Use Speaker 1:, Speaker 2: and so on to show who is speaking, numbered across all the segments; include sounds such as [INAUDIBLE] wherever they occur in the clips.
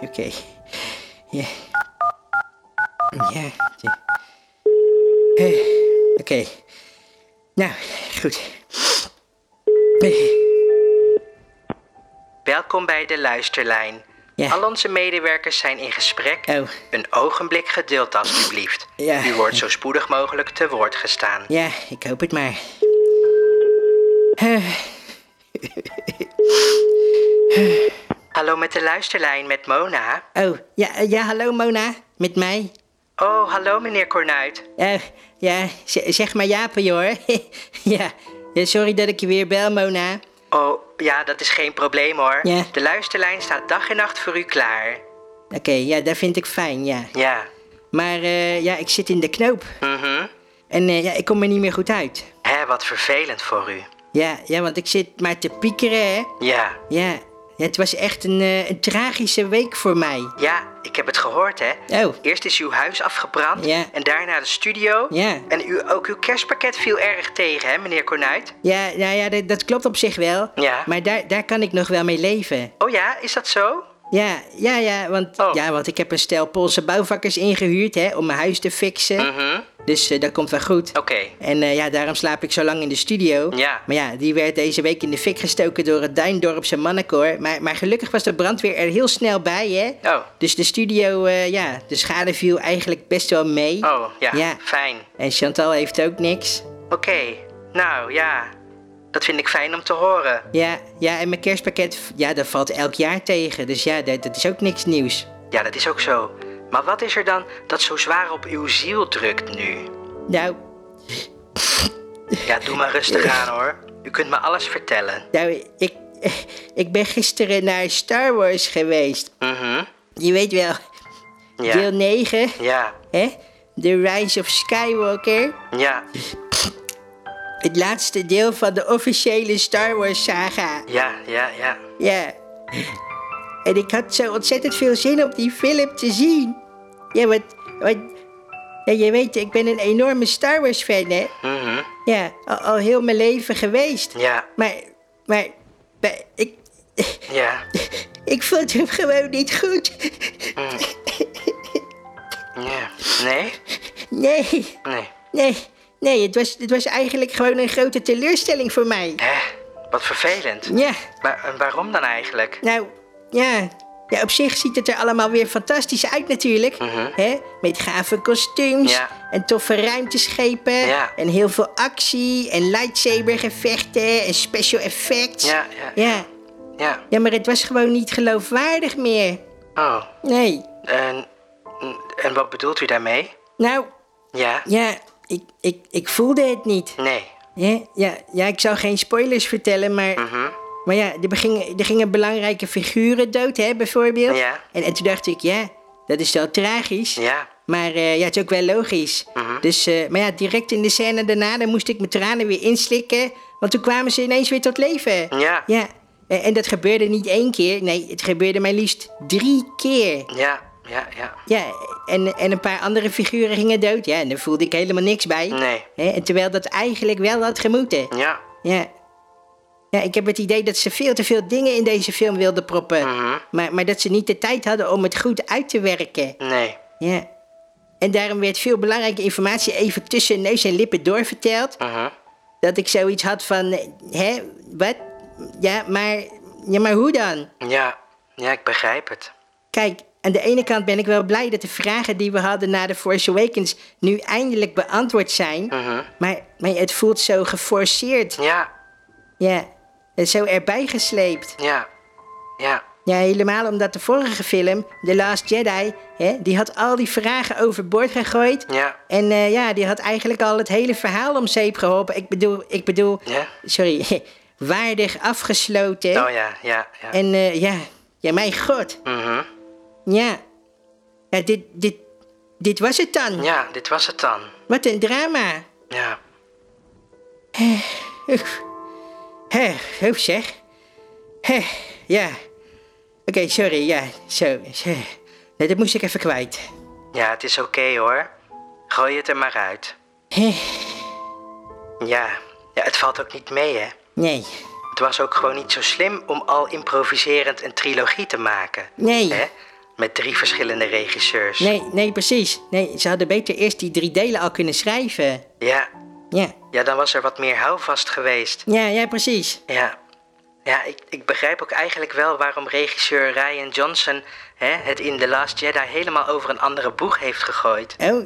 Speaker 1: Oké. Ja. Ja. Eh, Oké. Nou, goed. Eh,
Speaker 2: Welkom bij de luisterlijn.
Speaker 1: Ja.
Speaker 2: Al onze medewerkers zijn in gesprek.
Speaker 1: Oh.
Speaker 2: Een ogenblik geduld alstublieft.
Speaker 1: Ja.
Speaker 2: U wordt zo spoedig mogelijk te woord gestaan.
Speaker 1: Ja, ik hoop het maar. Eh,
Speaker 2: Hallo met de luisterlijn met Mona.
Speaker 1: oh, ja, eh, ja, hallo Mona. Met mij.
Speaker 2: Oh, hallo meneer Cornuit.
Speaker 1: Eh, ja, z- zeg maar Jaapie hoor. [LAUGHS] ja. ja, sorry dat ik je weer bel, Mona.
Speaker 2: Oh, ja, dat is geen probleem hoor.
Speaker 1: Ja.
Speaker 2: De luisterlijn staat dag en nacht voor u klaar.
Speaker 1: Oké, ja, dat vind ik fijn, ja.
Speaker 2: Ja.
Speaker 1: Maar eh, ja, ik zit in de knoop.
Speaker 2: Mhm.
Speaker 1: En eh, ja, ik kom er niet meer goed uit.
Speaker 2: Hé, wat vervelend voor u.
Speaker 1: Ja, ja, want ik zit maar te piekeren, hè.
Speaker 2: Ja.
Speaker 1: Ja, ja, het was echt een, eh, een tragische week voor mij.
Speaker 2: Ja, ik heb het gehoord hè.
Speaker 1: Oh.
Speaker 2: Eerst is uw huis afgebrand.
Speaker 1: Ja.
Speaker 2: En daarna de studio.
Speaker 1: Ja.
Speaker 2: En u, ook uw kerstpakket viel erg tegen hè, meneer Cornuit.
Speaker 1: Ja, nou ja, dat, dat klopt op zich wel.
Speaker 2: Ja.
Speaker 1: Maar daar, daar kan ik nog wel mee leven.
Speaker 2: Oh ja, is dat zo?
Speaker 1: Ja, ja, ja, want,
Speaker 2: Oh.
Speaker 1: ja, want ik heb een stel Poolse bouwvakkers ingehuurd, hè, om mijn huis te fixen.
Speaker 2: Mhm.
Speaker 1: Dus eh, dat komt wel goed.
Speaker 2: Oké.
Speaker 1: En eh, ja, daarom slaap ik zo lang in de studio.
Speaker 2: Ja.
Speaker 1: Maar ja, die werd deze week in de fik gestoken door het Duindorpse mannenkoor. Maar, maar gelukkig was de brandweer er heel snel bij, hè?
Speaker 2: Oh.
Speaker 1: Dus de studio, eh, ja, de schade viel eigenlijk best wel mee.
Speaker 2: Oh, ja.
Speaker 1: Ja.
Speaker 2: Fijn.
Speaker 1: En Chantal heeft ook niks.
Speaker 2: Oké. Nou ja, dat vind ik fijn om te horen.
Speaker 1: Ja, ja, en mijn kerstpakket, ja, dat valt elk jaar tegen. Dus ja, dat, dat is ook niks nieuws.
Speaker 2: Ja, dat is ook zo. Maar wat is er dan dat zo zwaar op uw ziel drukt nu?
Speaker 1: Nou,
Speaker 2: Ja, doe maar rustig aan hoor. U kunt me alles vertellen.
Speaker 1: nou, ik, [LAUGHS] ik ben gisteren naar Star Wars geweest.
Speaker 2: Mhm.
Speaker 1: Je weet wel,
Speaker 2: Ja.
Speaker 1: deel 9,
Speaker 2: Ja.
Speaker 1: hè? The Rise of Skywalker.
Speaker 2: Ja.
Speaker 1: Het laatste deel van de officiële Star Wars saga.
Speaker 2: Ja, ja, ja.
Speaker 1: Ja. En ik had zo ontzettend veel zin om die film te zien. Ja, want... want ja, je weet, ik ben een enorme Star Wars fan, hè?
Speaker 2: Mhm.
Speaker 1: Ja, al, al heel mijn leven geweest.
Speaker 2: Ja.
Speaker 1: Maar, maar, maar ik,
Speaker 2: Ja.
Speaker 1: ik vond hem gewoon niet goed. [LAUGHS]
Speaker 2: Ja. Nee?
Speaker 1: Nee,
Speaker 2: Nee.
Speaker 1: nee, nee, het was, het was eigenlijk gewoon een grote teleurstelling voor mij.
Speaker 2: Hè? Wat vervelend.
Speaker 1: Ja,
Speaker 2: Maar en waarom dan eigenlijk?
Speaker 1: nou, ja. ja, op zich ziet het er allemaal weer fantastisch uit natuurlijk. Hè? Met gave kostuums
Speaker 2: Mhm. Ja.
Speaker 1: en toffe ruimteschepen.
Speaker 2: Ja.
Speaker 1: En heel veel actie en lightsabergevechten en special effects.
Speaker 2: Ja, ja.
Speaker 1: ja.
Speaker 2: Ja.
Speaker 1: Ja, maar het was gewoon niet geloofwaardig meer.
Speaker 2: Oh.
Speaker 1: Nee.
Speaker 2: En, en wat bedoelt u daarmee?
Speaker 1: Nou,
Speaker 2: Ja.
Speaker 1: ja, ik, ik, ik voelde het niet.
Speaker 2: Nee.
Speaker 1: Ja, ja, ja, ik zou geen spoilers vertellen, maar...
Speaker 2: Mhm.
Speaker 1: Maar ja, er gingen, er gingen belangrijke figuren dood, hè, bijvoorbeeld.
Speaker 2: Ja.
Speaker 1: En, en toen dacht ik, ja, dat is wel tragisch.
Speaker 2: Ja. Mhm.
Speaker 1: Maar eh, ja, het is ook wel logisch. Dus, eh, maar ja, direct in de scène daarna, dan moest ik mijn tranen weer inslikken. Want toen kwamen ze ineens weer tot leven.
Speaker 2: Ja.
Speaker 1: Ja, en, en dat gebeurde niet één keer. Nee, het gebeurde maar liefst drie keer.
Speaker 2: Ja. Ja. Ja.
Speaker 1: Ja, en, en een paar andere figuren gingen dood. Ja, en daar voelde ik helemaal niks bij.
Speaker 2: Nee.
Speaker 1: Hè, en terwijl dat eigenlijk wel had gemoeten.
Speaker 2: Ja.
Speaker 1: Ja. Ja, ik heb het idee dat ze veel te veel dingen in deze film wilden proppen.
Speaker 2: Mhm.
Speaker 1: maar, maar dat ze niet de tijd hadden om het goed uit te werken.
Speaker 2: Nee.
Speaker 1: Ja. En daarom werd veel belangrijke informatie even tussen neus en lippen doorverteld.
Speaker 2: Mhm.
Speaker 1: Dat ik zoiets had van, eh, hè, wat? Ja, maar, ja, maar hoe dan?
Speaker 2: Ja. Ja, ik begrijp het.
Speaker 1: Kijk, aan de ene kant ben ik wel blij dat de vragen die we hadden na The Force Awakens nu eindelijk beantwoord zijn. maar, maar het voelt zo geforceerd.
Speaker 2: Mhm. Ja.
Speaker 1: Ja, en zo erbij gesleept.
Speaker 2: Ja. Ja.
Speaker 1: Ja, helemaal omdat de vorige film, The Last Jedi, hè, die had al die vragen overboord gegooid.
Speaker 2: Ja.
Speaker 1: En eh, ja, die had eigenlijk al het hele verhaal om zeep geholpen. Ik bedoel, ik bedoel,
Speaker 2: Ja.
Speaker 1: sorry, [LAUGHS] waardig afgesloten.
Speaker 2: Oh ja. Ja. Ja.
Speaker 1: En eh, ja, ja, mijn god.
Speaker 2: Mhm.
Speaker 1: Ja. ja dit, dit, dit was het dan.
Speaker 2: Ja, dit was het dan.
Speaker 1: Wat een drama.
Speaker 2: Ja.
Speaker 1: Oef. Hè, oef zeg. Hè, ja. Oké, sorry, ja, zo. zo. Nee, dat moest ik even kwijt.
Speaker 2: Ja, het is oké hoor. Gooi het er maar uit.
Speaker 1: Hè,
Speaker 2: Ja. ja, het valt ook niet mee hè.
Speaker 1: nee.
Speaker 2: Het was ook gewoon niet zo slim om al improviserend een trilogie te maken.
Speaker 1: Nee.
Speaker 2: Hè? Met drie verschillende regisseurs.
Speaker 1: Nee, nee, precies. Nee, ze hadden beter eerst die drie delen al kunnen schrijven.
Speaker 2: Ja.
Speaker 1: Ja,
Speaker 2: ja, dan was er wat meer houvast geweest.
Speaker 1: ja, ja, precies.
Speaker 2: Ja, ja ik, ik begrijp ook eigenlijk wel waarom regisseur Ryan Johnson hè, het in The Last Jedi helemaal over een andere boeg heeft gegooid.
Speaker 1: Oh,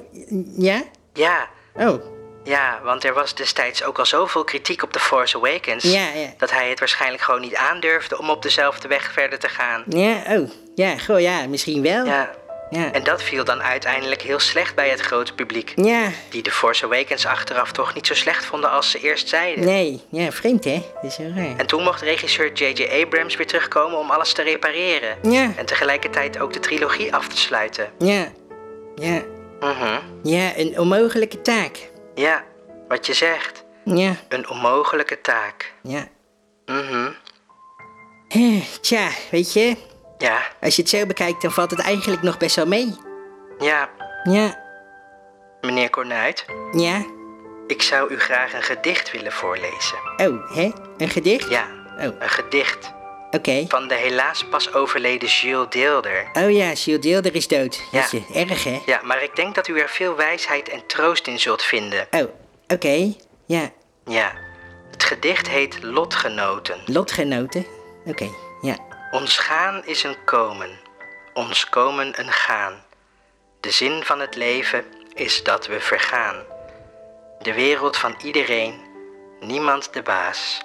Speaker 1: ja?
Speaker 2: Ja,
Speaker 1: Oh,
Speaker 2: ja, want er was destijds ook al zoveel kritiek op The Force Awakens.
Speaker 1: Ja, ja.
Speaker 2: Dat hij het waarschijnlijk gewoon niet aandurfde om op dezelfde weg verder te gaan.
Speaker 1: ja, oh. Ja, goh, ja, misschien wel.
Speaker 2: Ja.
Speaker 1: Ja.
Speaker 2: En dat viel dan uiteindelijk heel slecht bij het grote publiek.
Speaker 1: Ja,
Speaker 2: Die The Force Awakens achteraf toch niet zo slecht vonden als ze eerst zeiden.
Speaker 1: nee. Ja, vreemd, hè? Dat is heel raar.
Speaker 2: En toen mocht regisseur J.J. Abrams weer terugkomen om alles te repareren.
Speaker 1: Ja.
Speaker 2: En tegelijkertijd ook de trilogie af te sluiten.
Speaker 1: Ja, ja.
Speaker 2: Mhm.
Speaker 1: Ja, een onmogelijke taak.
Speaker 2: Ja, wat je zegt.
Speaker 1: Ja,
Speaker 2: Een onmogelijke taak.
Speaker 1: ja.
Speaker 2: Mhm.
Speaker 1: Eh, Tja, weet je,
Speaker 2: Ja,
Speaker 1: als je het zo bekijkt, dan valt het eigenlijk nog best wel mee.
Speaker 2: ja,
Speaker 1: Ja,
Speaker 2: meneer Cornuit.
Speaker 1: ja.
Speaker 2: Ik zou u graag een gedicht willen voorlezen.
Speaker 1: Oh, hè? Een gedicht?
Speaker 2: Ja,
Speaker 1: Oh,
Speaker 2: een gedicht
Speaker 1: oké.
Speaker 2: van de helaas pas overleden Jules Deelder.
Speaker 1: Oh ja, Jules Deelder is dood.
Speaker 2: Ja.
Speaker 1: Jeetje, erg, hè?
Speaker 2: Ja, maar ik denk dat u er veel wijsheid en troost in zult vinden.
Speaker 1: Oh, oké. Ja,
Speaker 2: Ja, het gedicht heet Lotgenoten.
Speaker 1: lotgenoten. Oké, ja.
Speaker 2: Ons gaan is een komen, ons komen een gaan. De zin van het leven is dat we vergaan. De wereld van iedereen, niemand de baas.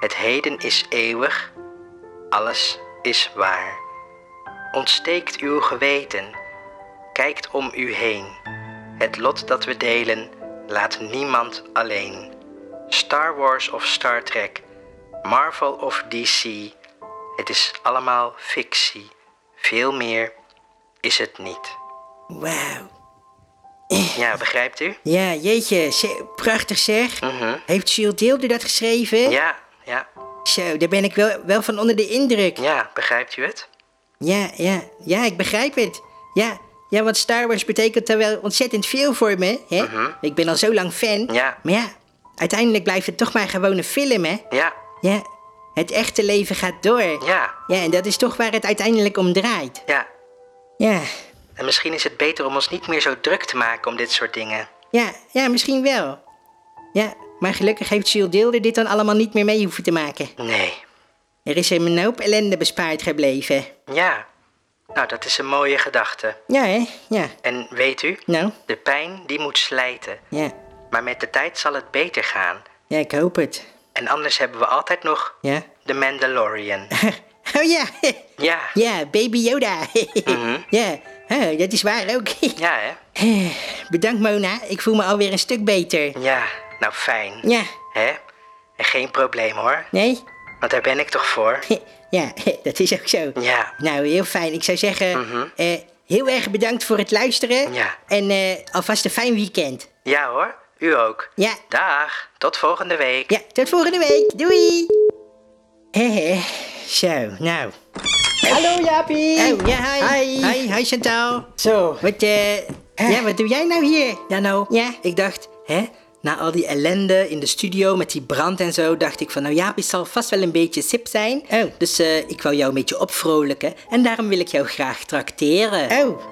Speaker 2: Het heden is eeuwig, alles is waar. Ontsteekt uw geweten, kijkt om u heen. Het lot dat we delen, laat niemand alleen. Star Wars of Star Trek, Marvel of DC, het is allemaal fictie. Veel meer is het niet.
Speaker 1: Wauw.
Speaker 2: Ja, begrijpt u?
Speaker 1: Ja, jeetje, ze- prachtig zeg.
Speaker 2: Mhm.
Speaker 1: Heeft Jules Deelder dat geschreven?
Speaker 2: Ja, ja,
Speaker 1: Zo, daar ben ik wel, wel van onder de indruk.
Speaker 2: ja, begrijpt u het?
Speaker 1: Ja, ja, ja, ik begrijp het. Ja, ja, want Star Wars betekent er wel ontzettend veel voor me, hè?
Speaker 2: Mhm.
Speaker 1: Ik ben al zo lang fan.
Speaker 2: Ja.
Speaker 1: Maar ja, uiteindelijk blijft het toch maar gewoon een film, hè?
Speaker 2: Ja,
Speaker 1: Ja, het echte leven gaat door.
Speaker 2: ja,
Speaker 1: Ja, en dat is toch waar het uiteindelijk om draait.
Speaker 2: ja.
Speaker 1: Ja,
Speaker 2: En misschien is het beter om ons niet meer zo druk te maken om dit soort dingen.
Speaker 1: ja, ja, misschien wel. Ja, maar gelukkig heeft Jules Deelder dit dan allemaal niet meer mee hoeven te maken.
Speaker 2: Nee.
Speaker 1: Er is hem een hoop ellende bespaard gebleven.
Speaker 2: Ja. Nou, dat is een mooie gedachte.
Speaker 1: Ja, hè? Ja.
Speaker 2: En weet u,
Speaker 1: Nou,
Speaker 2: de pijn die moet slijten.
Speaker 1: ja.
Speaker 2: Maar met de tijd zal het beter gaan.
Speaker 1: Ja, ik hoop het.
Speaker 2: En anders hebben we altijd nog
Speaker 1: Ja. [LAUGHS]
Speaker 2: de Mandalorian.
Speaker 1: Oh ja, [LAUGHS]
Speaker 2: Ja,
Speaker 1: ja, baby Yoda. [LAUGHS]
Speaker 2: Mhm.
Speaker 1: Ja, oh, dat is waar ook. [LAUGHS]
Speaker 2: ja hè?
Speaker 1: Bedankt Mona, ik voel me alweer een stuk beter.
Speaker 2: Ja, nou fijn.
Speaker 1: Ja,
Speaker 2: Hè? En geen probleem hoor,
Speaker 1: nee?
Speaker 2: want daar ben ik toch voor.
Speaker 1: Ja, dat is ook zo.
Speaker 2: Ja,
Speaker 1: Nou, heel fijn. Ik zou zeggen, eh, heel erg bedankt voor het luisteren.
Speaker 2: Ja.
Speaker 1: En eh, alvast een fijn weekend.
Speaker 2: ja hoor, u ook.
Speaker 1: Ja.
Speaker 2: Dag, tot volgende week.
Speaker 1: Ja, tot volgende week. Doei! Hehe, zo, nou.
Speaker 3: Hallo Jaapie!
Speaker 1: Oh, ja, hi.
Speaker 3: Hi.
Speaker 1: Hi, hi, Chantal.
Speaker 3: Zo,
Speaker 1: Wat, eh, ja, wat doe jij nou hier?
Speaker 3: ja nou,
Speaker 1: Ja.
Speaker 3: ik dacht, hè, na al die ellende in de studio met die brand en zo, dacht ik van nou Jaapie zal vast wel een beetje sip zijn.
Speaker 1: Oh.
Speaker 3: Dus eh, ik wou jou een beetje opvrolijken en daarom wil ik jou graag trakteren.
Speaker 1: Oh,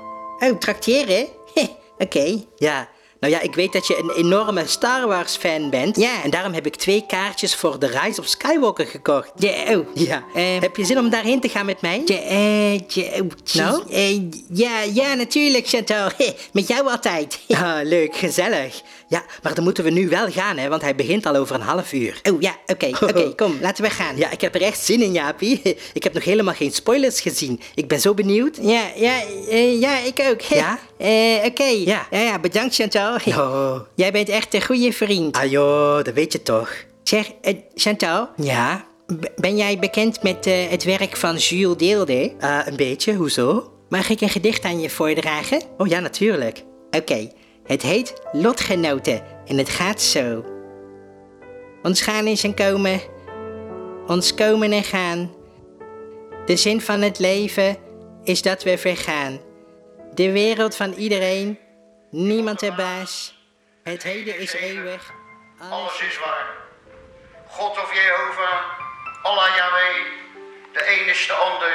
Speaker 3: [LAUGHS]
Speaker 1: oh, trakteren? Heh, Oké.
Speaker 3: Ja, nou ja, ik weet dat je een enorme Star Wars fan bent.
Speaker 1: Ja.
Speaker 3: En daarom heb ik twee kaartjes voor The Rise of Skywalker gekocht.
Speaker 1: Ja, oh.
Speaker 3: Ja,
Speaker 1: Eh,
Speaker 3: heb je zin om daarheen te gaan met mij?
Speaker 1: Ja, eh, ja, oh, zie-
Speaker 3: Nou?
Speaker 1: eh, ja, ja, natuurlijk, Chantal. [LAUGHS] Heh, Met jou altijd. [LAUGHS]
Speaker 3: Ah, leuk, gezellig. Ja, maar dan moeten we nu wel gaan, hè, want hij begint al over een half uur.
Speaker 1: Oh ja,
Speaker 3: [LAUGHS]
Speaker 1: oké, oké, kom, laten we gaan.
Speaker 3: Ja, ik heb er echt zin in, Jaapie. [LAUGHS] Ik heb nog helemaal geen spoilers gezien. Ik ben zo benieuwd.
Speaker 1: Ja, ja, eh, ja, ik ook. [LAUGHS] Heh.
Speaker 3: Ja?
Speaker 1: Eh, oké.
Speaker 3: Ja.
Speaker 1: ja, ja, bedankt Chantal. [LAUGHS] Heh.
Speaker 3: Oh,
Speaker 1: Jij bent echt een goede vriend.
Speaker 3: ah joh, dat weet je toch.
Speaker 1: Zeg, eh, Chantal,
Speaker 3: Ja,
Speaker 1: b- ben jij bekend met eh, het werk van Jules Deelder?
Speaker 3: eh, een beetje, hoezo?
Speaker 1: Mag ik een gedicht aan je voordragen?
Speaker 3: Oh ja, natuurlijk.
Speaker 1: Oké, het heet Lotgenoten en het gaat zo. Ons gaan is een komen, ons komen en gaan. De zin van het leven is dat we vergaan. De wereld van iedereen, niemand de baas. Het heden is eeuwig.
Speaker 4: Alles is waar. God of Jehovah, is de ander,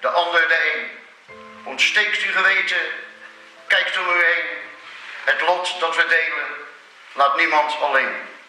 Speaker 4: de ander de een. Ontsteekt uw geweten, kijkt om u heen. Het lot dat we delen, laat niemand alleen.